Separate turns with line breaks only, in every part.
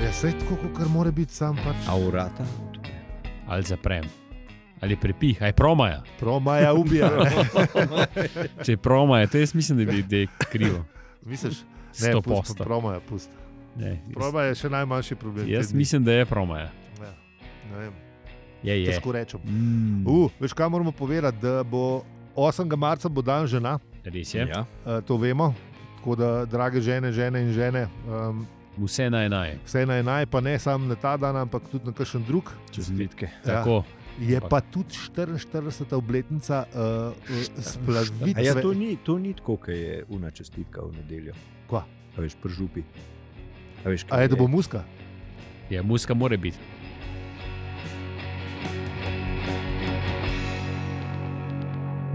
Ja, sej tako, kot mora biti sam pač.
A urata?
ali zaprem, ali prepih, aj promaja.
Promaja ubija. ne.
Če je promaja, to jaz mislim, da bi da je krivo.
Misliš, ne,
Sto
pust,
posto.
promaja, pusti.
Ne, jaz,
Promaja je še najmanjši problem. te
jaz
dni.
mislim, da je promaja.
Ja, ne vem,
Je, je.
težko rečem.
Mm,
Uh, veš, kaj moramo povedati, da bo 8. marca bo dan žena.
res je.
Ja.
Eh, to vemo. Tako da, drage žene, žene in žene, um,
Vse naj naj.
vse naj naj, pa ne samo na ta dan, ampak tudi na kakšen drug.
Čestitke.
Ja.
Tako.
Je pa tudi 44. obletnica uh,
A
splavitve.
ja, to, ni, to ni tako, kot je una čestitka v nedeljo.
Kva?
A veš, pržupi. A veš,
A je, da bo muska?
Ja, muska mora biti.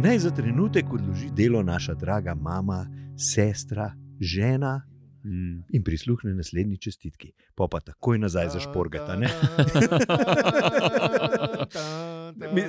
Naj za trenutek odloži delo naša draga mama, sestra, žena
Mm.
in prisluhne naslednji čestitki. Pa pa takoj nazaj zašporgata. ne? Mi-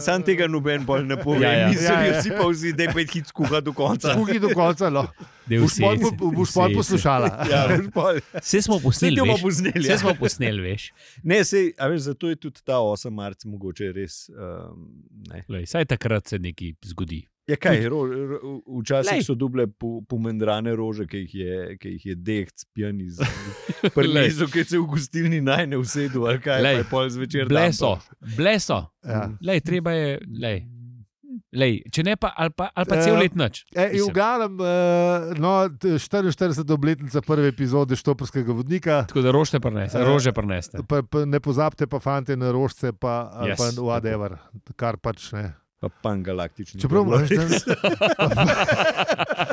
Sam tega noben bolj ne pove.
Ja,
Ja,
ja.
ja. Niso
Ja, ja.
ja, vsi pa vsi, da je pet hit skuha do konca.
Kugi do konca, no.
Del
boš pol
srca,
po- boš pol
srca.
poslušala.
Ja, boš pol.
Vse smo
Vsi
posneli,
ti bomo
veš.
pozneli.
Vse smo posneli, veš.
Ne, sej, a veš, zato je tudi ta 8. marc mogoče res. Um, ne.
Lej, saj takrat se nekaj zgodi.
ja, kaj, ro, ro, včasih
Glej.
so duble po- pomendrane rože, ki jih je, ki jih je dehc pijan iz
Glej.
prlezu, ki se je v gostilni naj ne usedel, ali kaj,
Glej.
pa je pol zvečer. dan
Bleso, bleso.
Ja.
Lej, treba je, lej. Lej, če ne pa, ali pa, ali pa
Ja.
cel let noč.
E, in v glavnem, eh, no, t- 44. obletnica prve epizode Štoprskega vodnika.
Tako da rošte preneste,
Eh,
rože preneste.
Pa, pa ne pozabite pa fante na rožce, pa, yes,
Yes,
pa
tako.
whatever, kar pač ne.
Pa pan galaktični.
Čeprav
dogovor.
moraš tam.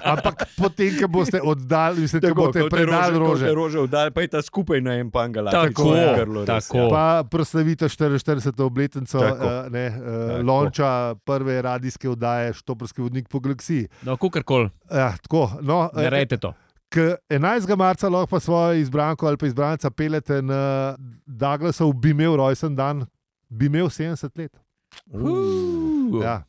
Ampak potem, ko boste oddali, mislim, da boste
ko te
predali
ko
rože.
te rože vdal, pa je ta skupaj na en pan galaktični.
Tako,
odgrlo, res,
tako.
ja.
Pa proslavite 44. obletnico
Tako.
eh, ne, eh,
Tako.
lonča prve radijske oddaje Štoprski vodnik po galaksiji.
No, kakorkoli,
Ja, tako, no, eh,
naredite to.
k 11. marca lahko pa svojo izbranko ali pa izbranca pelete na Douglasov, bi imel rojsten dan, bi imel 70 let.
ja.
Uh,
Ja.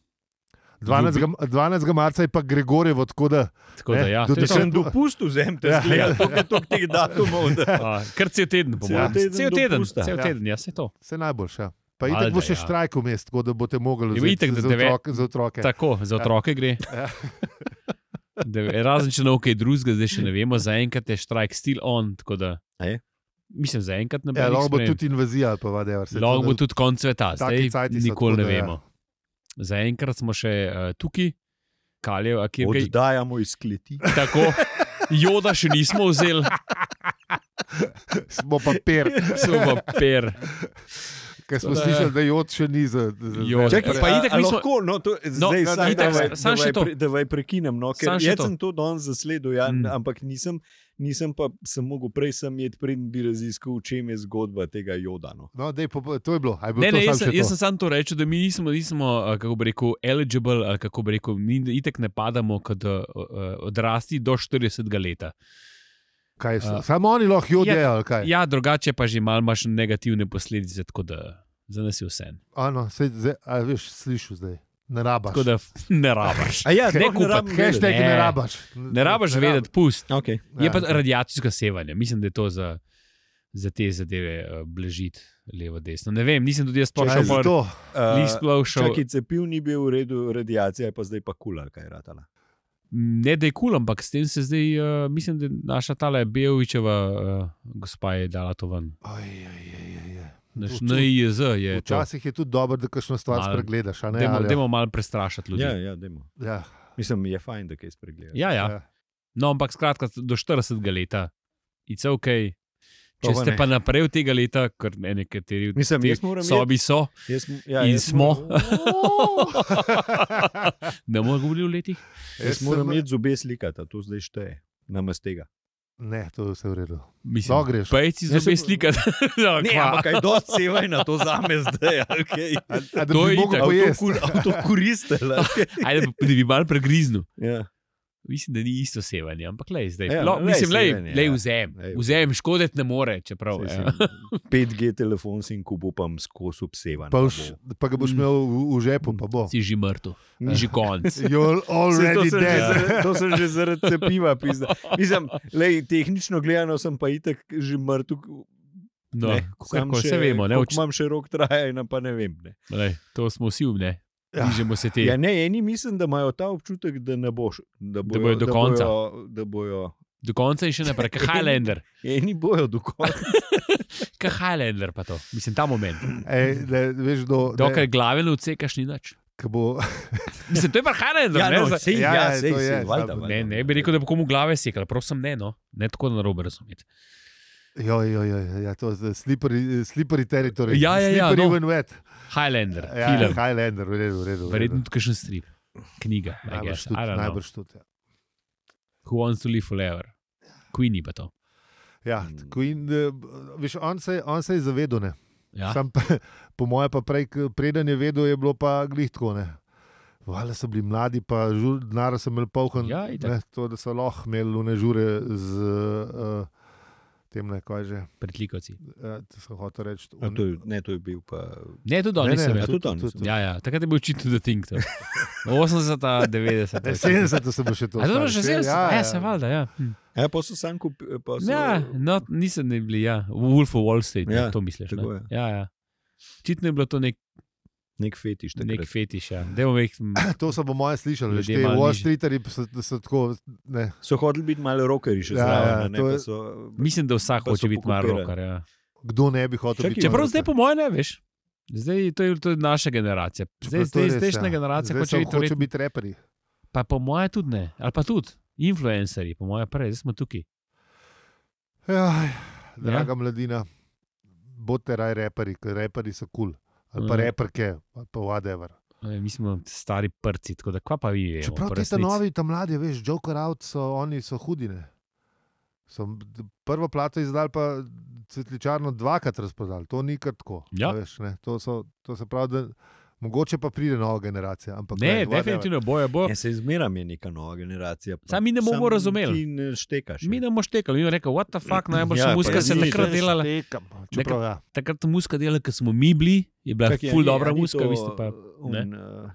12. ga- 12. marca je pa Gregorjevo, tako da
Tako da,
Ne,
ja,
Eh, do
to
Če
je to.
deset-
sem dopustil, zemte,
Ja,
zgleda,
ja.
to je toliko teh datumov. Da.
A, Kar cel teden, po
Cel
mojem.
teden
Cel teden,
dopusta.
cel
Ja.
teden, ja, se to.
Vse najboljše. Ja. Pa
Valjda,
itek bo še
ja.
ja. štrajk vmes, tako da boste mogli
Ja,
vzeti
itak, da
za,
deve-
otroke, za otroke.
Tako, za otroke gre.
Ja.
Da, Razen če nov kaj drugega, zdaj še ne vemo, zaenkrat je štrajk still on. tako Da,
A je?
mislim, zaenkrat ne
Ja, lahko bo
sprememb.
tudi invazija, ali pa vadever.
Lahko bo tudi konc sveta,
taki
zdaj
cajti so,
nikoli
tako
ne
da ja.
vemo. Zaenkrat smo še uh, tukaj, kaljev, a kjer kaj
Oddajamo iz kleti.
tako. Joda še nismo vzeli,
Smo papir,
samo per.
ker smo
Da. ja.
slišali, da jod še ni za. za-
Jod.
za-
Čakaj, pa itak mi smo-
lahko, no, to,
No,
zdaj,
no,
sam,
itak,
da,
samo
da,
še to.
pre, da vaj prekinem. No, ker
Samo še
jaz
to.
sem to danes zasledil, ja,
Mm.
mm. ampak nisem, nisem pa sem mogel prej sem jed, preden bi raziskal, v čem je zgodba tega joda. No.
No, dej, po, po- to je bilo. A Je bilo
Ne,
to
ne, jaz,
samo
sem-
še to?
jaz sem samo to rekel, da mi nismo, nismo a, kako bi rekel, eligible, ali kako bi rekel, mi itek ne padamo kot a, a, odrasli do 40 let.
Kaj, je šlo?
a-
Samo oni lahko jod
Ja,
jejo, ali kaj.
Ja, drugače pa že malo imaš negativne posledice, tako da za nas je vse.
Ano, sej, zdaj, a veš, slišiš zdaj. Ne rabaš.
Tako da ne rabaš.
A ja,
Ne
sploh
kupiti,
rabim vedeti.
Hashtag ne
Ne.
rabaš.
Ne rabaš vedeti, pust.
Okay.
Je pa
Ja.
radiacijsko sevanje, mislim, da je to za, za te zadeve blažiti levo, desno. Ne vem, nisem tudi
Aj,
jaz splošal,
zato.
nisem splošal.
Čakaj, cepiv ni bil v redu, radiacija je pa zdaj pa kula, kaj je ratala.
Ne, da je kul, cool, ampak s tem se zdaj, uh, mislim, da naša tale Bejovičeva uh, gospa je dala to ven.
Aj, aj, aj, aj, aj.
Naš
To- to-
NIJZ je to.
Včasih je tudi dobro, da kakšno stvar
Malo-
spregledaš. a ne,
Dajmo,
ali-
dajmo malo prestrašiti ljudi.
Ja,
Ja,
ja, dajmo.
Ja,
Mislim, je fajn, da kaj spregledaš.
ja. ja.
ja.
No, ampak skratka, do 40 leta je vse ok.
To
Če
pa
ste
ne.
pa naprej od tega leta, ker ne nekateri v
Mislim,
tej
jaz moram
sobi so,
Jaz, m- ja,
In
jaz
smo.
moram-
ne moremo govoriti v letih.
Jaz moram jeti zobe slikati, a to zdaj šteje. Namest tega.
Ne, to je vse v redu.
Mislim,
No, greš.
Pejci
Jaz
zobe
sem-
slikati. no,
Ne, ja,
kva.
ampak kaj dosti sevaj na to zame zdaj. Okay.
A, a da
To
bi
je
mogel
itak.
pojesti.
Avto koristila.
Ajde, da bi- da bi malo pregriznil.
Ja.
Mislim, da ni isto sevanje, ampak le zdaj.
Ja,
Ja, Lo,
lej,
mislim,
sevanje,
le
ja.
vzem,
Lej,
vzem, škoditi ne more, čeprav.
Saj
Ja.
sem 5G telefon si kupam skozi obsevan.
Pa, už, pa ga boš
Mm.
imel v, v žepu, pa bo.
Si že mrtev, že konc.
You're already
to, sem že
dead. Ja.
zaradi, to sem že zaradi cepiva. pizda. Mislim, lej, tehnično gledano sem pa itek že mrtev.
No,
Ne, samo
kako,
še-
vse vemo, ne,
koliko
oči,
Imam še rok trajanja, pa ne vem. Ne.
lej, to smo vsi umne,
Ja.
bližamo se te.
Ja, ne, eni mislim, da imajo ta občutek, da ne boš. Da bojo,
bojo do konca.
Da bojo, da bojo,
Do konca in še naprej, kot Highlander,
eni bojo do konca.
kot Highlander pa to, mislim ta moment.
Ej, ne, veš, do,
Dokler glave ne odsekaš, ni nič.
Ko bo,
Mislim, to je pa Highlander, ne, za-
sej,
ja, ja,
sej,
to
sej,
je,
valjda,
samo-
valjda.
Ne, ne bi rekel, da bo komu glave sekal, prosim, ne, no. ne tako na robe razumeti.
joj, joj, joj, ja, to je slippery, slippery territory.
Ja, ja, ja,
slippery
no.
when wet.
Highlander,
Ja,
ja, film,
Highlander, v redu, v redu. v redu.
verjetno tudi še strip, knjiga, I
Najbrž
guess, I
tudi,
don't know.
najbrž tudi. Ja,
Who wants to live forever? Queenie pa to.
ja
Hmm.
Mm.
tako in, eh, veš, on, se, on se je zavedel. Ne?
Ja.
Sam, pa- po mojem, pa prej, k- preden je vedel, je bilo pa glitko. Vale so bili mladi, pa žur- denar so imeli polhon.
Ja, itak.
ne, to, da so lahko imeli lune žure z uh, tem, ne, kaj že.
Pretlikovci.
Uh, to sem hotel reči.
A to je- Ne, to je bil pa.
Ne, tudi
Ne,
oni
ne, a
so imeli.
tudi oni so.
Ja, ja, takrat je bil očitno The Think. 80, 90.
Ja,
Ne, 70 so bili še to.
A to je bilo že
stari,
70, ja, ja. se valjda, ja. Hm.
Ja, pa so sam kupili.
Ja, no, nisem ne bili, ja. Wolf of Wall Street, ja,
Ja,
to misliš.
tako
Ne?
je.
Ja, ja. Očitno je bilo to nek,
Nek fetiš. takrat.
nek fetiš, ja. Dajmo mek,
To so po mojem slišali, že
Ljudje
te
malo
Wall
nižje.
Streeterji so, so tako. Ne,
So hodili biti malo rokerji še
Ja, ja,
zraven. a ne,
to
pa
je-
so-
mislim, da vsak
Pa so
hoče biti malo
pokopirali.
rokar. Ja.
kdo ne bi hotel
Čakaj,
biti?
Čeprav
rocker?
zdaj, po mojem, ne veš. Zdaj, to, je, to je naša generacija. Zdaj,
Čeprav to
zdaj
res,
zdajšnja
ja.
generacija
Zdaj
hoče
samo
biti verjetno-
hoče biti reperi.
Pa po mojem tudi ne, ali pa tudi influencerji, po mojem prej, zdaj smo tukaj.
Jaj, draga ja. mladina, bodite raj reperi, ker reperi so kul. Cool. Ali pa
Mhm.
Mm.
reperke, ali pa whatever.
E, Mi smo stari prsti, tako da kva pa vi vemo.
Čeprav
po
ti ta
resnici.
novi, ta mladi, veš, Joker out, so, oni so hudine. So d- prvo plato izdal, pa cvetličarno dvakrat razprodal. To ni kar tako.
Ja.
a Veš, ne, to, so, to se pravi, da mogoče pa pride nova generacija. Ampak,
Ne,
glej, whatever.
definitivno bojo, bojo.
Ja, se izmeram je neka nova generacija. pa
Sam mi ne bomo
samo
razumeli.
Ti ne štekaš. ja.
Mi ne bomo štekali, mi bomo rekli, what the fuck, najbolj
Ja,
ja,
pa
muska
ja,
se
ni,
takrat
ne,
delala.
Tekam, čeprav, ja.
Takrat muska delala, ker smo mi bili, je bila
Čakaj, a
ful
ni- a
dobra
ni
muska,
to,
vi ste pa.
uh,
ne?
un, uh,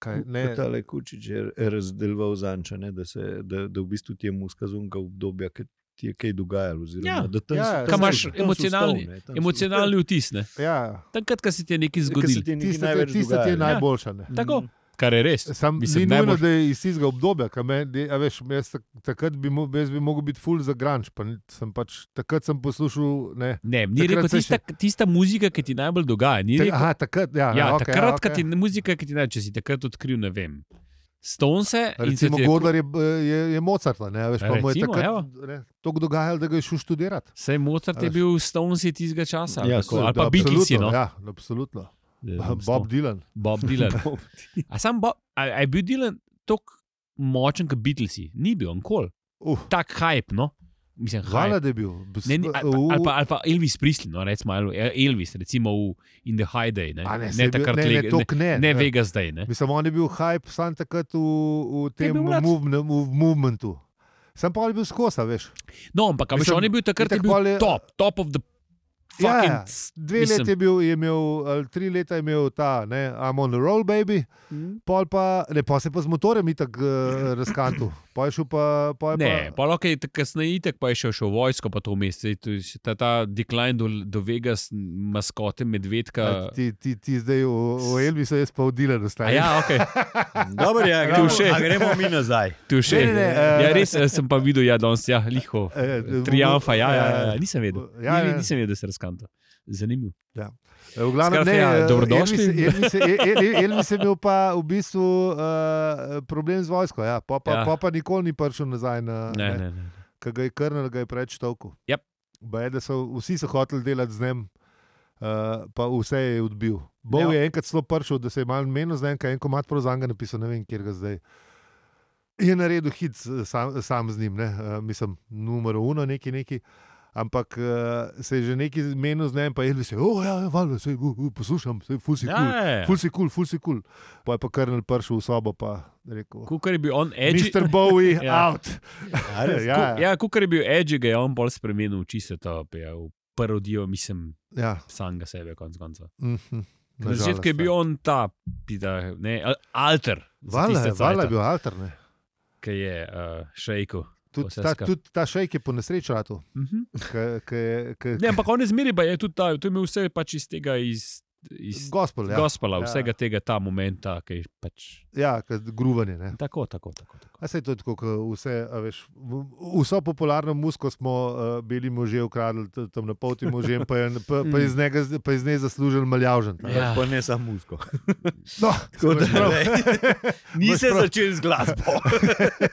Kaj,
Ne,
ne,
ta le kučič je razdelval zanča, ne, da, se, da, da v bistvu ti je muska zunka obdobja, ki ti je kaj dogajalo. Oziroma,
Ja,
da tam
ja,
so-
ja.
tam
Ka
so-
imaš
tam so
emocionalni-
stol, ne, tam so-
Emocionalni vtis, ne.
ja,
Takrat, ko se ti je nekaj
Ker se
zgodilo.
ti je nekaj
tiste,
največ
tiste ti je
dogajalo.
najboljša. Ne.
Tako, kar je res.
Sam,
Ja. Mislim,
Mislim, ni nujno,
najbolj-
da je iz tistega obdobja, ki me, de, a veš, jaz tak, takrat bi, mo- jaz bi mogel biti full za granč, pa ni- sem pač, takrat sem poslušal, ne.
Ne, ni
Takrat
rekel
se
tista, tista muzika, ki ti najbolj dogaja. Ni
Te,
rekel,
aha, takrat, ja,
Ja,
okay,
okay, takrat,
okay.
okay. ti muzika, ki ti ne, če si takrat odkril, ne vem. Stonse in se
Recimo,
ti je-
Gordler je, je, je Mozart, a ne, a veš, pa mu je
Recimo,
takrat
evo.
ne, toliko dogajalo, da ga je šel študirati.
Sej Mozart je
Veš.
bil Stones tistega časa.
Ja,
Ja, tako,
seveda,
ali pa Beatlesi.
Absolutno,
No? Ja.
Ja, absolutno. Bob Dylan.
Bob Dylan.
Bob
A sam Bob, a, a je bil Dylan tako močen kot Beatlesi? Ni bil, nikoli.
Uf,
Tak hype, no. Mislim,
hvala,
hype.
da je bil.
Ne, ni, ali, pa, ali, pa, ali pa Elvis Prisli, no, recimo ali Elvis, recimo v In the High Day. Ne,
ne,
ne,
saj je bil-
takrat
ne, ne,
leg-
toliko
ne,
ne,
ne vega zdaj. Ne.
Mislim, on je bil hype sam takrat v, v tem
bil mlad.
movne- v movementu. Sam pa je bil skosa, veš.
No, ampak a veš,
Mislim,
on je bil takrat je
itak
bil
pol je-
top, top of the
Ja,
fucking.
ja. Dve
Mislim-
leti je bil, je imel, ali tri leta je imel ta, ne, I'm on the roll, baby, pol pa, ne, pa se je pa z motorjem itak uh, razkantu. Pa je šel pa, pa je
Ne,
pa.
pa lahko je tako kasneje, itek pa je šel še v vojsko, pa to vmes. Saj to je še Ta, ta decline do, do Vegas, m, maskote,
a
medvedka.
Ti, ti, ti zdaj v, v Elvisu, jaz pa v Dilanu
A
stajam.
ja, ok,
Dobro, ja,
Tu
gremo,
še.
a gremo mi nazaj.
tu še.
Ne, ne, ne,
ja,
eh,
res eh, sem pa videl, ja, danes, ja, liho.
Eh, eh,
Triumfa, ja, ja, ja,
eh,
nisem vedel.
ja,
Ja,
ja.
ja. Nisem vedel, da se razkanta. Zanimivo.
V glavnem,
Skratka,
ne,
ja,
eh,
dobrodošli.
Elvis, Elvis, Elvis, Elvis je imel pa v bistvu uh, problem z vojsko, ja. pa, pa,
Ja.
ja. pa, pa nikoli ni prišel nazaj na.
Ne, ne, ne.
ki ga je krnil, ga je preveč toliko.
Yep.
Vsi so hoteli delati z njim, uh, pa vse je odbil. Bov
Ja.
je enkrat zelo pršil, da se je malo menil, zdaj je en komat prozanga napisal, ne vem, kjer ga zdaj. Je naredil hit s- sam, sam z njim, ne? uh, mislim, numero uno, neki neki. Ampak uh, se je že neki menil z njim, pa je rekel, oh, ja, ja, valjda, saj, uh, uh, poslušam, sej, ful si kul, cool,
Ja,
ful si kul, cool, ful si kul. Cool. Pa je pa krnil pršil v sobo, pa rekel,
Kukar je bil on edgy.
Mr. Bowie,
e, Ja.
out.
A res?
Ja,
Ku- Ja, kukar je bil edgy, ga je on bolj spremenil v čisto top, ja, v parodijo, mislim,
Ja.
samega sebe, konc konca.
Mhm,
Na začetku je
ja.
bil on ta, pita, ne, al- alter. za
Vala,
tiste
vala je
cajte.
bil alterne.
ki je uh, šejko.
Tudi
Vse
ta,
skupaj.
tud ta šejk je po nesreči ratu.
Mhm. Ne,
Gospod,
ampak on je zmeri, pa je tudi ta, to je imel vse pač iz tega, iz,
ja.
iz ja.
Ja.
gospela, ja. vsega tega, ta momenta, ki je pač.
Ja, ke gruvanje. Ne.
Tako, tako, tako. tako.
A saj to je tako, kot vse, a veš, v- vso popularno muziko smo uh, bili možje ukradli, t- tam na poti možem, pa je, pa,
Mm.
pa je iz, njega, z- pa je iz nje zaslužen maljažen.
Ja.
Pa ne samo muziko.
No,
Tako da,
prav,
ne. Nisem
prav.
začel z glasbo.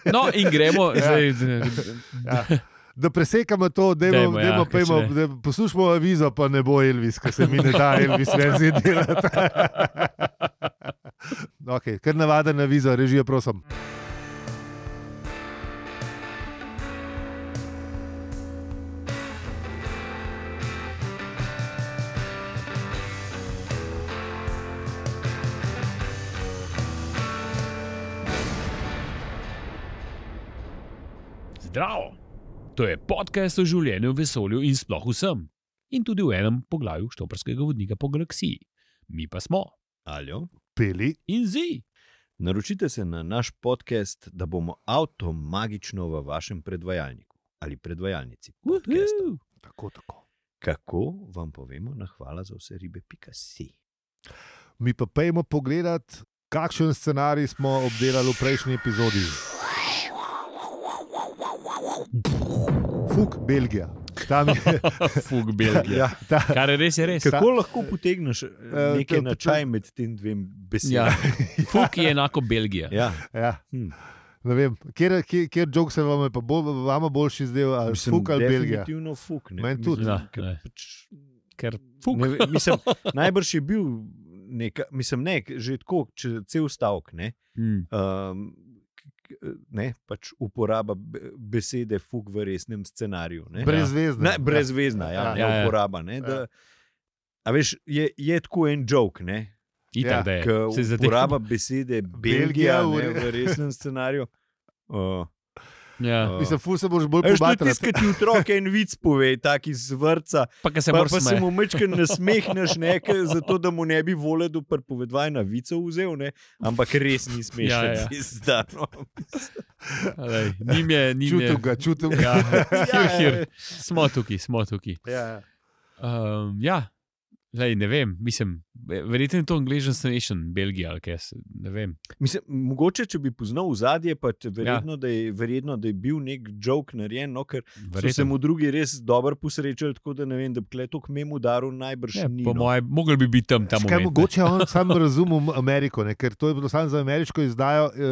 No, in gremo,
Ja.
ja. zdaj, z-
da presekamo to, da
Dajmo, ja, ker če
ja,
ne-
poslušamo avizo, pa ne bo Elvis, ker se mi ne da Elvis verzije delati. okay, kar navaden avizo, režijo, prosim.
Zdravo! To je podcast o življenju v vesolju in sploh vsem. In tudi v enem poglavju štoprskega vodnika po galaksiji. Mi pa smo
Aljo.
Peli.
in zi.
Naročite se na naš podcast, da bomo avtomagično v vašem predvajalniku ali predvajalnici. podcasta.
Uhu.
Tako, tako.
Kako vam povemo, na hvala za vse ribe, pika si.
Mi pa pojmo pogledat, kakšen scenarij smo obdelali v prejšnji epizodi. Fuk, Belgija. Tam je.
Fug Belgija.
Ja, Eh, ta,
Kar je res, je res.
Kako
Kako lahko potegneš eh,
nekaj
nekaj
na čaj
načaj med tem dvema
Ja.
besedami?
Fug je enako Belgija.
Ja.
ja.
Hm.
Ne vem, kjer, kjer, kjer jok se vam je pa bolj, vama boljši zdel, ali fuk ali Belgija.
Definitivno fuk. Ne?
Meni tudi.
Ja,
ker
ne.
pač-
Ker fug.
Ne, ve- mislim, najbrž je bil, neka, mislim, ne, že tako, če cel stavek. Ne,
Mm.
um, ne, pač uporaba be- besede fuk v resnem scenariju. Ne.
Brez zvezde.
Ne, brezvezna, ja, ja,
Ja,
ja,
ja.
uporaba. Ne, da, a veš, je, je tako en joke, ne,
Ja,
Itak, da je.
ki
Se zadeva.
uporaba besede Belgija
v re-
ne, v resnem scenariju. Uh,
Ja.
uh,
Mislim, fuk se boš bolj
Eš, to je
pobatal.
tisto, ki ti otrok en vic pove, tak iz vrca,
Pa, ki se
pa,
moraš
pa se
smejati.
mu mečkaj nasmehneš, ne, ke- zato da mu ne bi voledu pripovedvaj na vico vzel, ne, ampak res ni smešno, ja,
Ja, ja.
ja. izdano.
Glej, Njim je, njim je.
Čutim ga, čutim ga.
Ja. Hir,
ja.
hir. Smo tukaj, smo tukaj.
Ja, ja.
Um, ja, Lej, ne vem, mislim, ve- verjetno je to angliški station, Belgija ali kaj, se- ne vem.
Mislim, mogoče, če bi poznal zadje, pa te verjetno, ja. da je, verjetno, da je bil nek joke narejen, no, ker Verjetno. so se mu drugi res dobro posrečili, tako da ne vem, da bi kleto k memu daru najbrž
Ne,
ne, ni.
Ja, po
no.
mojem, mogli bi biti tam, tam.
Kaj mogoče on sam razumel Ameriko, ne? ker to je bilo samo za ameriško izdajo eh,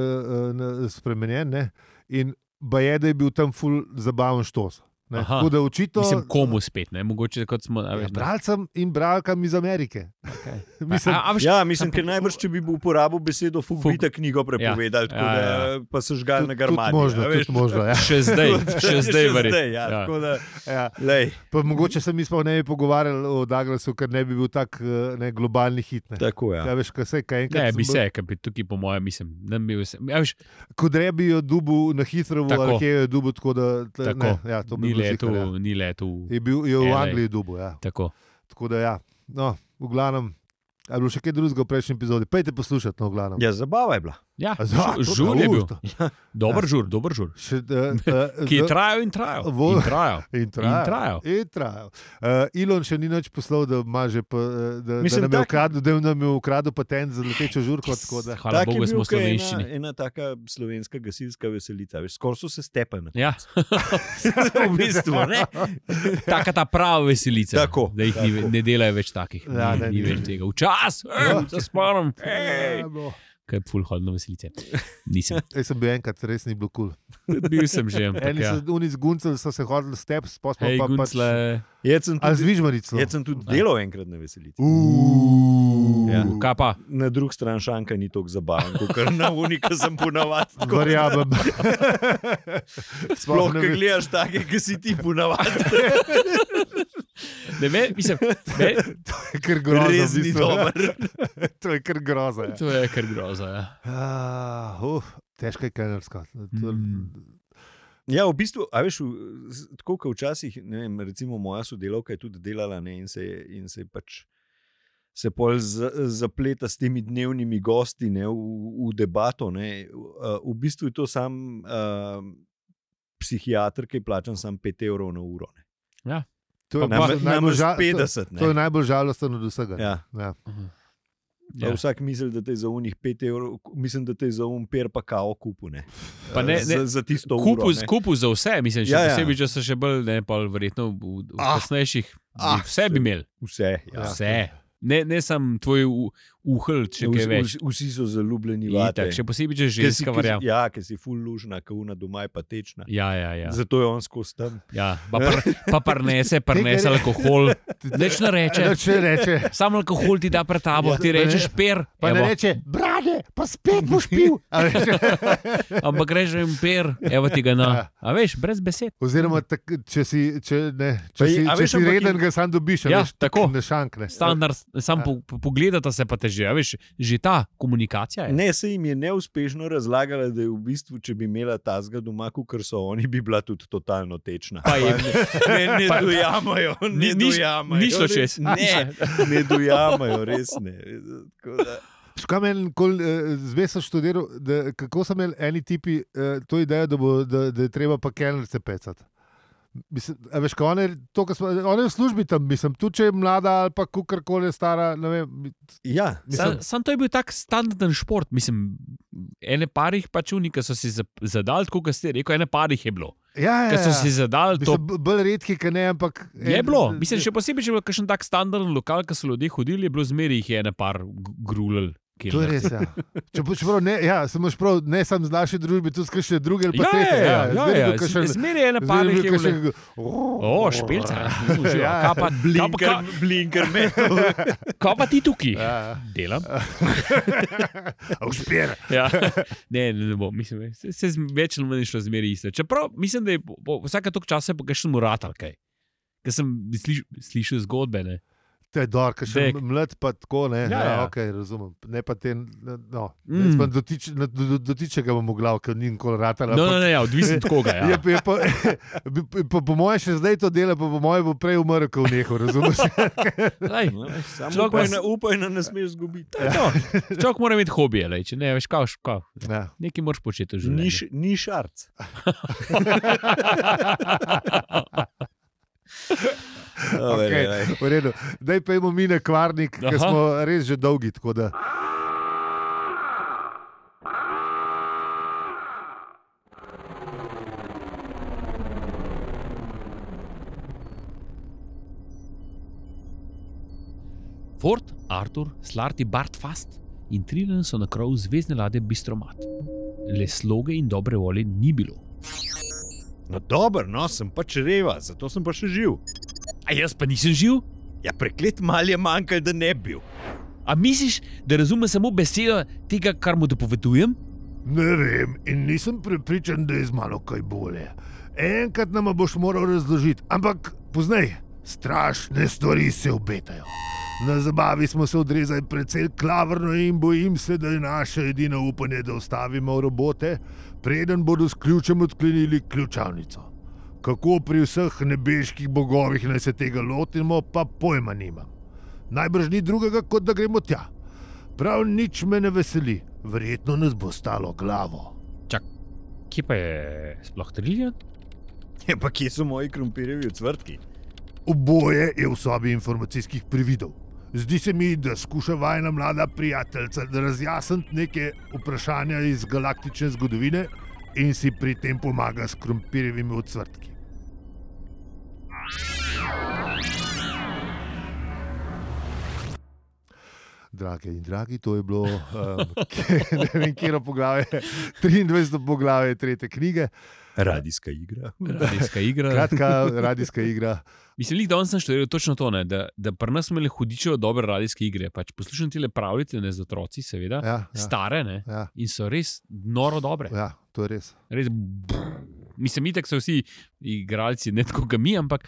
uh, spremenjeno. In baje, da je bil tam ful zabaven štos. ne.
Aha.
Tako da očitno.
Mislim, komu spet, ne, mogoče kot smo.
Ja,
Ja,
bralcem in bralkam iz Amerike. Mislim,
a, a, veš, ja.
Ja, mislim, ker najbrž, če bi uporabil besedo fuk,
Fuk.
bi ta knjigo prepovedal, ja, ja, ja. da, pa so žgal
tudi,
na
tudi
garmati.
možno,
a
tudi
veš.
možno ja.
Še zdaj, še zdaj, verjetno.
zdaj, ja,
Ja.
tako da,
Ja.
lej,
Pa Mogoče se mi sploh ne bi pogovarjali o Douglasu, ker ne bi bil tak eh, ne, globalni hit. Ne.
tako,
Ja,
ja.
veš, kaj se kaj enkrat.
Ne,
sem
bi
bil-
se, ker bi tukaj, po mojem, mislim, ne bi bil. Ja, veš,
Ko drebi jo dubu na hitro,
Tako.
ali kje jo dubu, tako da tle-
tako,
ne, ja, to bi
ni
bilo zihar,
letel,
ja.
ni letel.
Je bil je v
LA.
Angliji dubu, ja.
Tako.
Tako da, ja. no, v glavnem, ali je bilo še kaj drugega v prejšnji epizodi, pejte poslušati, no, v glavnem.
Ja, zabava je bila.
Ja,
A Ja. za-
žu- žur je
U,
bil.
to-
Dober žur, dober žur.
Še, uh, uh,
Ki je trajal in trajal.
Vo-
In trajal.
In
in trajal.
trajal. In trajal. Uh, Elon še ni nič poslal, da, ima že pa, eh, da, da
Mislim,
nam je
tak-
ukradel, da nam je ukradel patent za letečo žurko. tako Da,
Hvala
Tak je
Bogu,
bil,
da smo v
ke je
slovenščini.
Ena, ena taka slovenska gasilska veselica, veš, skoraj so se stepali. na-
Ja,
v bistvu, ne.
taka ta prava veselica.
Tako,
da jih ni,
tako.
ne delajo več takih.
Ja,
Ja,
ne,
ni,
ne.
ni več tega. Včasih,
Ja.
se spomnim,
Ja, no.
kaj je full hodno veselice. Nisem.
Jaz sem bil enkrat, res ni bilo kul. Cool.
Bil sem že. ampak
Eni
Ja.
so oni z Guncel so se hodili steps, pa smo
Hej,
pač-
Ja.
pa pač-
guncle.
Jaz sem
A z no.
tudi,
Vižmarico.
jaz sem tudi delal enkrat na veselici.
Ja. Kaj pa?
Na drugi strani šanka ni tako zabaven, kot na unika sem ponavadi. tako.
Verjamem.
Sploh,
ne
ki
vem.
gledaš take, ki si ti ponavadi.
Ne vem, mislim, ne,
To je kar groza. v
Res ni
bistvu.
dober.
to je kar groza. Ja.
to je kar groza. Ja.
Ah, uf, težka je kanarska.
Mm.
Ja, v bistvu, a veš, v- s- tako kot včasih, ne vem, recimo moja sodelavka je tudi delala ne, in, se, je- in se je pač. Se pol z- zapleta s temi dnevnimi gosti ne, v, v debato. Ne. V- a, V bistvu je to sam uh, psihiater, ki plačam samo 5 evrov na uro. Ne.
To je,
Pa
najbolj-
Namre-
najbolj
Namreč
žal- to,
50. ne.
to je najbolj žalosten od vsega. ne.
Ja.
Ja.
Mhm.
Ja. Vsak misli, da te je za unih 5 evrov, mislim, da te je za un per pa kao kupu. Ne.
Pa ne-
Eh, za,
ne,
za tisto
Kupu,
uro. ne.
kupu za vse, mislim, še
Ja, ja.
ja, posebej, ja. če so še bolj, ne pa verjetno v, v
Ah,
ah, kasnejših.
ah,
Ah, vse bi
se-
imeli,
Vse. Ja.
Ja.
vse. Ne, ne samo tvoj u- uhl, če kaj
Vsi-
več.
vsi- Vsi so zaljubljeni v
Itak, še posebej, če
Ker si,
ženska
ker,
verjame.
ja, ker si full lužna, ker una doma je pa tečna.
Ja, ja, ja.
Ja. Zato je on skozi tam.
ja. Pa, pr, pa prnese, prnese alkohol. Neč ne reče,
Eh, no, Če reče,
samo alkohol ti da pred tabo,
Ja.
ti rečeš per.
pa ne
evo.
reče, brade, pa spet boš pil. A veš?
Ampak rečeš jim per, evo ti ga na. A veš, brez besed.
Oziroma, tak, če si, če, ne, če
Pa je-
si,
a
če
veš,
si
ampak
reden,
je-
ga sam dobiš, a
Ja,
veš, tak
tako.
Ne šankne.
Standard, sam po, po, pogledata se pa teže, a veš, že ta komunikacija je.
Ne, se jim je neuspešno razlagala, da je v bistvu, če bi imela tazga doma, kot so oni, bi bila tudi totalno tečna.
Pa je- ja.
ne, ne, ne
pa-
dojamajo, ne
Ni- ni-
dojamajo.
ni šlo
res-
čez.
Ne, ne dojamajo, res ne. Tako Da,
Škoda meni, zdaj sem študiral, da, kako so imeli eni tipi eh, to idejo, da, bo, da, da je treba pa kelnerce pecati. Mislim, a veš, ko one, to, ko smo, one je v službi tam, mislim, tudi če je mlada ali pa kukorkoli je stara. ne Vem,
ja,
mislim,
Sam, sam to je bil tak standarden šport. Mislim, ene parih pač unika so si za- zadali, tako kot ste rekli, ene parih je bilo.
ja, ja,
Ker so
ja.
si zadali to.
Mislim, b- bolj redki, ki ne, ampak.
Je
en-
bilo, mislim, še posebej, če je bil kakšen tak standarden lokal, ki so ljudje hodili, je bilo zmeraj jih je ena par grulil.
To je res. Ja. Če boš prav, ne, ja, sem moš prav, ne samo z naše družbe, tudi s kakšne druge ali pa
Ja,
tretje.
ja, ja,
zmeraj je
ja,
bil kakšen-
z- zmeraj je ena par
zmeraj je
jih
bil
je bilo.
kakšen-
O, špilca.
Ja.
Kaj pa, kaj pa,
blinker, blinker metal.
kaj- kaj pa ti tukaj?
Ja, ja.
Delam.
Uspira.
Ja. Ne, ne, ne bo, mislim, se, se z- več ali manj šlo zmeri isto. Čeprav mislim, da je po- po- vsake toliko časa je pa kakšen murat ali kaj. Ker sem sliš, slišal zgodbe. Ne.
To je dobro, ker še
Dek.
mlad, pa tako ne.
Ja,
Ja, ja.
ja.
Okay, razumem. Ne pa te, no,
Mm.
mm. dotič, na- do, do, dotičega bom v glav, ker ni nikoli ratala.
No, no, ne, ja, odvisno od koga.
Je,
Ja.
pa- je pa, bi- bi- pa, po mojem, še zdaj to dela, pa po mojem bo prej umrl, kot v neho. Razumeš?
Lej,
Samo Ja,
Človek
upaj
pa-
na, upaj na ne smeš zgubiti.
to je to. Človek mora imeti hobije, lej, če ne veš, kaj, kaj.
Ja.
nekaj moraš početi v
Ni,
življenju.
š- ni šarc.
Okej, v redu. Daj pa imamo mi na kvarnik, ker
Aha.
smo res že dolgi. tako Da...
Ford, Arthur, Slarti, Bartfast in Trilen so na krovu zvezdne lade Bistromat. Le sloge in dobre volje ni bilo.
No, dober, no, sem pač reva, zato sem pa še živ.
A jaz pa nisem živ?
Ja, preklet mal je manjkal, da ne bi bil.
A misliš, da razume samo besedo tega, kar mu dopovedujem?
Ne vem in nisem prepričan, da je z mano kaj bolje. Enkrat nam boš moral razložiti, ampak poznaj, strašne stvari se obetajo. Na zabavi smo se odrezali precej klavrno in bojim se, da je naše edino upanje, da ustavimo robote, preden bodo s ključem odklenili ključavnico. Kako pri vseh nebeških bogovih naj se tega lotimo, pa pojma nimam. Najbrž ni drugega, kot da gremo tja. Prav nič me ne veseli, verjetno nas bo stalo glavo.
Kje pa je sploh Triljan?
Ja, pa kje so moji krompirjevi ocvrtki?
Oboje je v sobi informacijskih prividov. Zdi se mi, da skuša vajna mlada prijateljica razjasniti neke vprašanja iz galaktične zgodovine in si pri tem pomaga s krompirjevimi odcvrtki. Drage in dragi, to je bilo, um, ne vem, kje je poglavje, 23. poglavje tretje knjige,
Radijska igra.
Radijska igra.
kratka radijska igra.
Mislim, da danes sem študiral točno to, ne, da, da pri nas smo imeli hudičevo dobre radijske igre. Pač poslušam ti le pravljice, ne z otroci, seveda, ja,
Ja,
ja.
ja,
stare ne,
ja,
in so res noro dobre.
ja, to je res.
Res, brr. mislim, itek so vsi igralci, ne tako kot mi, ampak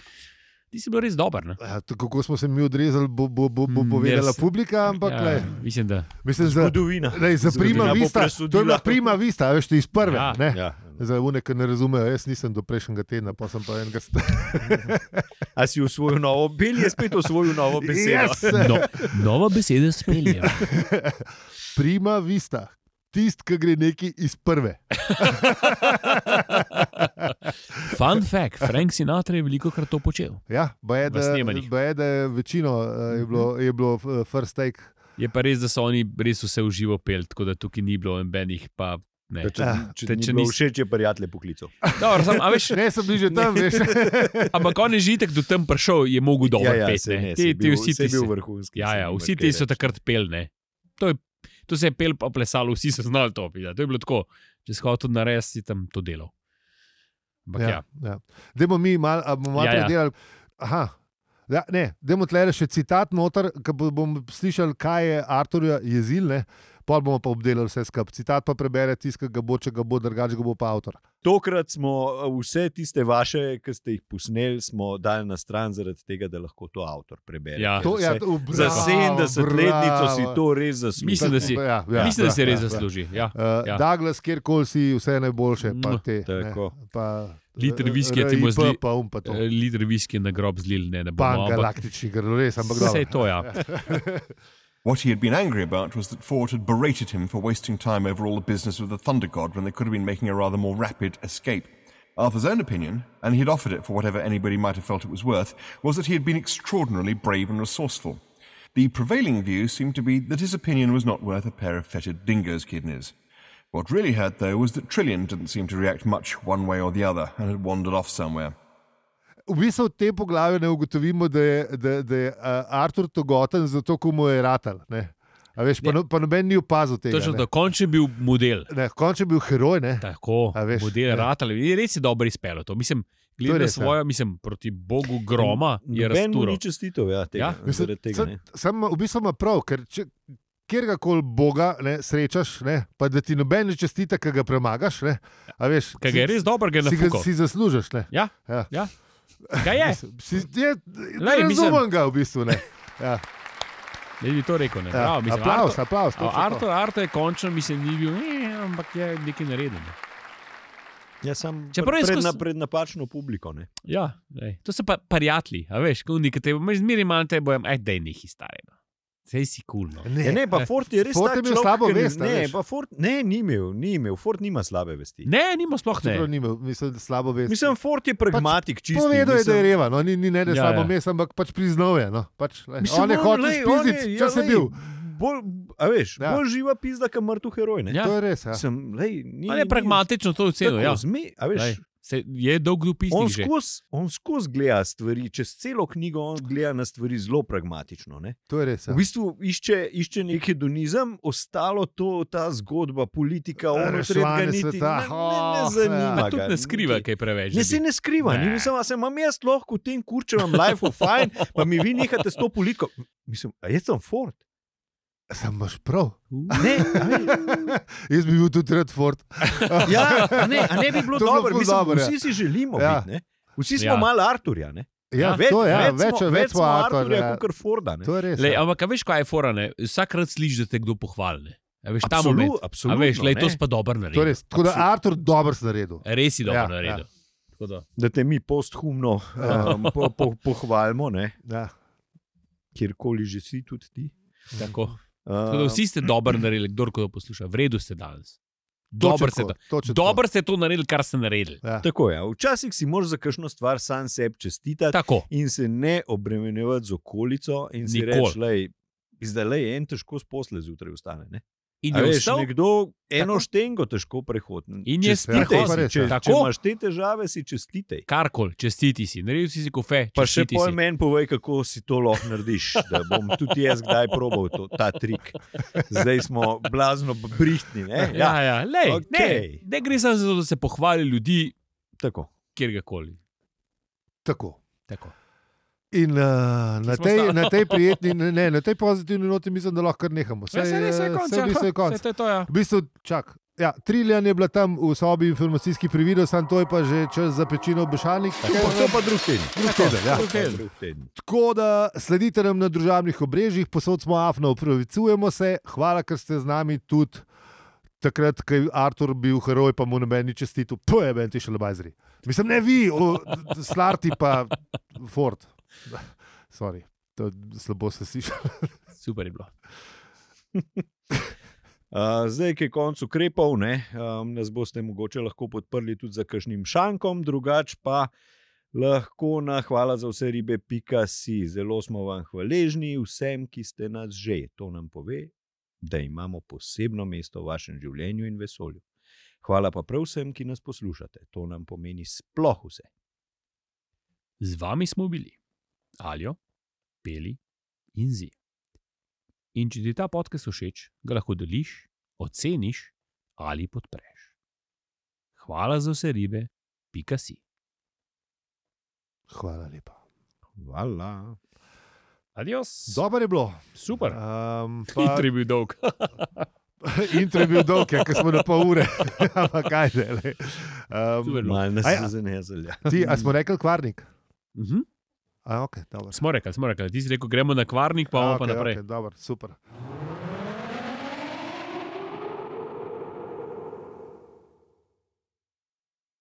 ti si bil res dober. Ne?
Ja, to, kako smo se mi odrezali, bo, bo, bo, bo
Mm,
povedala
jaz-
publika, ampak ja. le,
mislim, da
mislim, za,
Zgodovina.
lej, za prima
Zgodovina bo
vista, to
presodila.
je bila prima vista, a veš, ti iz prve.
Ja,
Ja,
Ja.
Za une, ki ne razumejo, jaz nisem do prejšnjega tedna, pa sem pa enega star.
A si usvojil novo, Bel je spet usvojil novo besedo.
Yes.
no, nova beseda spelje.
prima vista. tisti, ki gre neki iz prve.
Fun fact, Frank Sinatra je veliko krat to počel.
Ja, baje,
V
da,
snemanjih.
baje, da je večino eh, je bilo, je bilo eh, first take.
Je pa res, da so oni res vse v živo pel, tako da tukaj ni bilo nobenih. pa ne.
Da, Če,
Ja,
če, če,
te- če
če ni
nisi-
všeč, je prijatelj poklical.
Dobro, sam, a veš,
Ne, sem bil že tam, veš.
ampak on je že itek do tam prišel, je mogel dobro
ja,
peti.
saj ne,
ne. Ti-
saj
ti
bil-
vsi
saj
ti
bil
se-
vrhunski.
Ja,
saj
ja,
nima
vsi
kaj
ti so
reči.
takrat pelne. To, je- to se je pel, pa plesalo, vsi so znali to. Ja. To je bilo tako, če si hotel narediti, si tam to delal. Ampak ja.
ja, ja. Demo mi malo, a bomo malo
Ja, ja.
predelali. Aha. Ja, ne, demo tle še citat noter, ki bomo slišali, kaj je Arturja jezil, ne? pol bomo pa obdelali vse skupaj. Citat pa prebere tiskaj, ga bo, če ga bo, drugače ga bo pa avtor.
Tokrat smo eh, vse tiste vaše, ki ste jih posneli, smo dali na stran, zaradi tega, da lahko to avtor prebere.
Ja.
Ker
To, ja,
vse-
to,
Za
bravo,
70-letnico si
bravo.
to res zasluži.
Mislim, da si-
Ja,
Ja, Mislim, da si res
ja,
zasluži. Ja.
Ja. Uh,
Ja.
ja. Douglas, kjerkoli si, vse najboljše. Pa
Mm,
te, ne,
tako.
pa, eh,
Liter viskija ti bo
RIP,
zli-
Pa um, pa to.
Eh, Liter viski na grob zlil, ne, ne
Pan
bomo. ampak-
galaktični, gre res, ampak
Vse je
dobro.
to, ja.
What he had been angry about was that Ford had berated him for wasting time over all the business of the Thunder God when they could have been making a rather more rapid escape. Arthur's own opinion, and he'd offered it for whatever anybody might have felt it was worth, was that he had been extraordinarily brave and resourceful. The prevailing view seemed to be that his opinion was not worth a pair of fetid dingo's kidneys. What really hurt, though, was that Trillian didn't seem to react much one way or the other and had wandered off somewhere.
V bistvu v tem poglavju ne ugotovimo, da je, da, da je uh, Artur togoten, zato ko mu je ratal. ne. A Veš, pa,
Ne.
no, pa noben ni opazil tega.
Ja. Točno
ne.
tako, končno je bil model.
Ne, končno je bil heroj. Ne?
Tako,
A veš,
model
ja.
Ratal. Res je dobro izpeljal to. Mislim,
To je
glede na
res, ja.
svojo, mislim, proti Bogu groma je
Noben mu
raztural.
ni čestitev, ja, tega,
Ja.
ja. zaradi tega. ne.
Sam v bistvu ima prav, ker če kjerkoli Boga ne, srečaš, ne, pa da ti noben ne čestita, ki ga premagaš. Ne, a veš,
Kaj ga je
si-
res dobro, ga je
si, ga,
nafukal.
si zaslužiš. Ne.
Ja,
Ja.
ja. Kaj je?
Mislim, Si, je
Lej,
Lej,
mislim-
razumem ga v bistvu. Ne. Ja,
Ne bi to rekel. Ne.
ja.
Bravo, mislim,
aplaus,
Artur-
aplaus. točno to.
Artur, Artur je končno, mislim, ni bil, eh, ampak je nekaj naredil. Ne.
Ja, sam
Čeprav
pred,
je
pred,
skozi-
na, pred napačno publiko. Ne.
Ja, ej. to so pa prijatelji, a veš, kot nekaj tebe, imaš zmeri malo te bojem, aj dej nekaj starega. Sej si kul. Cool, no.
Ja, ne, pa Ford je res
Ford
tak
je imel
človek,
slabo
ki ni-
vest, a
Ne,
veš.
pa Ford ne, ni imel, ni imel. Ford nima slabe vesti.
Ne, nima sploh ne.
Čeprav ni imel, mislim, da slabo vest.
Mislim, Ford je pragmatik, čisto.
Pač Povedal je, da je reva, no, ni, ni ne, da je
Ja,
ja, slabo
ja.
ja. mesto, ampak pač priznal je. No, pač, lej. on je hotel spizditi, čas je bil.
ja, Bolj, a veš,
Ja.
ja. bolj živa pizda, kot mrtev heroj. Ne?
Ja.
To je res. Ja.
Sem, lej, ni,
On je
ni-
pragmatično to ocenil.
Tako,
Ja.
Zme, a veš,
Lej, Se, je dolg
on
dopisnik že.
skozi- on skozi gleda stvari, čez celo knjigo on gleda na stvari zelo pragmatično. Ne?
To je res.
V
Ja.
bistvu išče, išče nek hedonizem, ostalo to, ta zgodba, politika, ono,
Reševanje
tretjega niti ne,
sveta.
ne, ne
Oh,
zanima.
ja.
Pa tudi
ga,
ne skriva,
niti-
kaj preveč.
Ne,
da
se
bi-
ne skriva,
Ne.
ni mislim, da sem vam jaz lahko v tem kurčevem life fajn, pa mi vi nehate s to politiko. Mislim, a jaz sem Ford.
Sem imaš prav.
Ne, a ne,
Jaz bi bil tudi Red Ford.
ja, a ne, a ne bi bilo
To bi bilo
dobro,
ful
mislim,
dobro, ja.
vsi si želimo
Ja.
biti. ne. Vsi smo
Ja.
malo Arturja. Ne?
Ja,
Ja,
ja, to, ja,
več, smo, več smo Arturja
ja.
kot Forda. ne.
To je res.
Lej,
ja.
ampak a veš, kaj je forane? Vsakrat slišiš, da te kdo pohvalne. A veš, ta
Absolut-
moment. A
absolutno,
veš, lej, to
ne.
si pa dobro naredil.
To je res. Tako da Artur dobro si naredil.
Res si
Ja,
dobro ja, naredil. Tako da.
Da te mi posthumno um, po, po, pohvalimo, ne?
Ja.
kjerkoli že si, tudi ti.
Tako. Tako da
Uh,
vsi ste dobro naredili, kdorkoli to posluša. V redu ste danes. Dobro ste,
Točno
to-
tako, točno tako.
dobro ste to naredili, kar ste naredili.
Ja.
tako je. Ja. Včasih si moraš za kakšno stvar sam sebi čestitati.
Tako.
in se ne obremenjevati z okolico. In si
Nikoli.
reči, da je en težko sposle zjutraj ustane. Ne?
In
A
je
veš,
vstal,
nekdo eno
Tako.
Tako? štengo težko prehodi.
In je
Čestitej
sprehod. Ja, to je
si,
pa res,
Če,
ja.
Tako.
če imaš te težave, si čestitej.
karkoli, čestiti si, naredil si si kofe.
Pa še
čestiti
pol
si.
meni povej, kako si to lahko narediš. Da bom tudi jaz kdaj probal to, ta trik. Zdaj smo blazno brihtni. Ne? Ja,
Ja, ja, lej,
Okej.
ne, ne gre samo za to, da se pohvali ljudi,
tako.
kjerkoli.
Tako.
Tako.
In uh, na,
smo
tej,
ostali.
na tej prijetni, ne, ne, na tej pozitivni noti mislim, da lahko kar nehamo.
Ja, saj ne, saj je
eh,
konec,
saj v
ja,
bistvu je konec.
saj to je to, ja.
V bistvu, čak. Ja, Triljan je bila tam v sobi informacijski prividel, sam to je pa že čez zapečino obešalnik.
To pa drug teden.
Drug teden, ja.
Drug teden. Drug teden.
Tako da sledite nam na družabnih obrežjih, posod smo afno, upravičujemo se. Hvala, ker ste z nami tudi takrat, ko je Artur bil heroj, pa mu noben ni čestitil. To je ben ti še lebajzri. Mislim, ne vi, o, d- slarti pa Ford. Sorry, to slabo se sliši.
Super je bilo.
Uh, zdaj, ki je konec ukrepov, ne, um, nas boste mogoče lahko podprli tudi za kakšnim šankom, drugače pa lahko na hvala za vse ribe, pika si. Zelo smo vam hvaležni, vsem, ki ste nas že. To nam pove, da imamo posebno mesto v vašem življenju in vesolju. Hvala pa prav vsem, ki nas poslušate. To nam pomeni sploh vse.
Z vami smo bili Aljo, Peli in Zi. In če ti je ta podcast všeč, ga lahko deliš, oceniš ali podpreš. Hvala za vse ribe, pika si.
Hvala lepa.
Hvala.
Adios.
Dobro je bilo.
Super.
Um,
Pa... Jutri je bil dolg.
Intro je bil dolg, ja, ker smo na pol ure. Ampak kaj že. Um,
Super.
Malo nas
Aja.
je zanezelja.
ja. ti, a smo rekli kvarnik?
Mhm.
A, okay, dobro.
Smo rekli, smo rekli. Ti si rekel, gremo na kvarnik, pa bomo
A,
pa
okej,
naprej.
okej, dobro, super.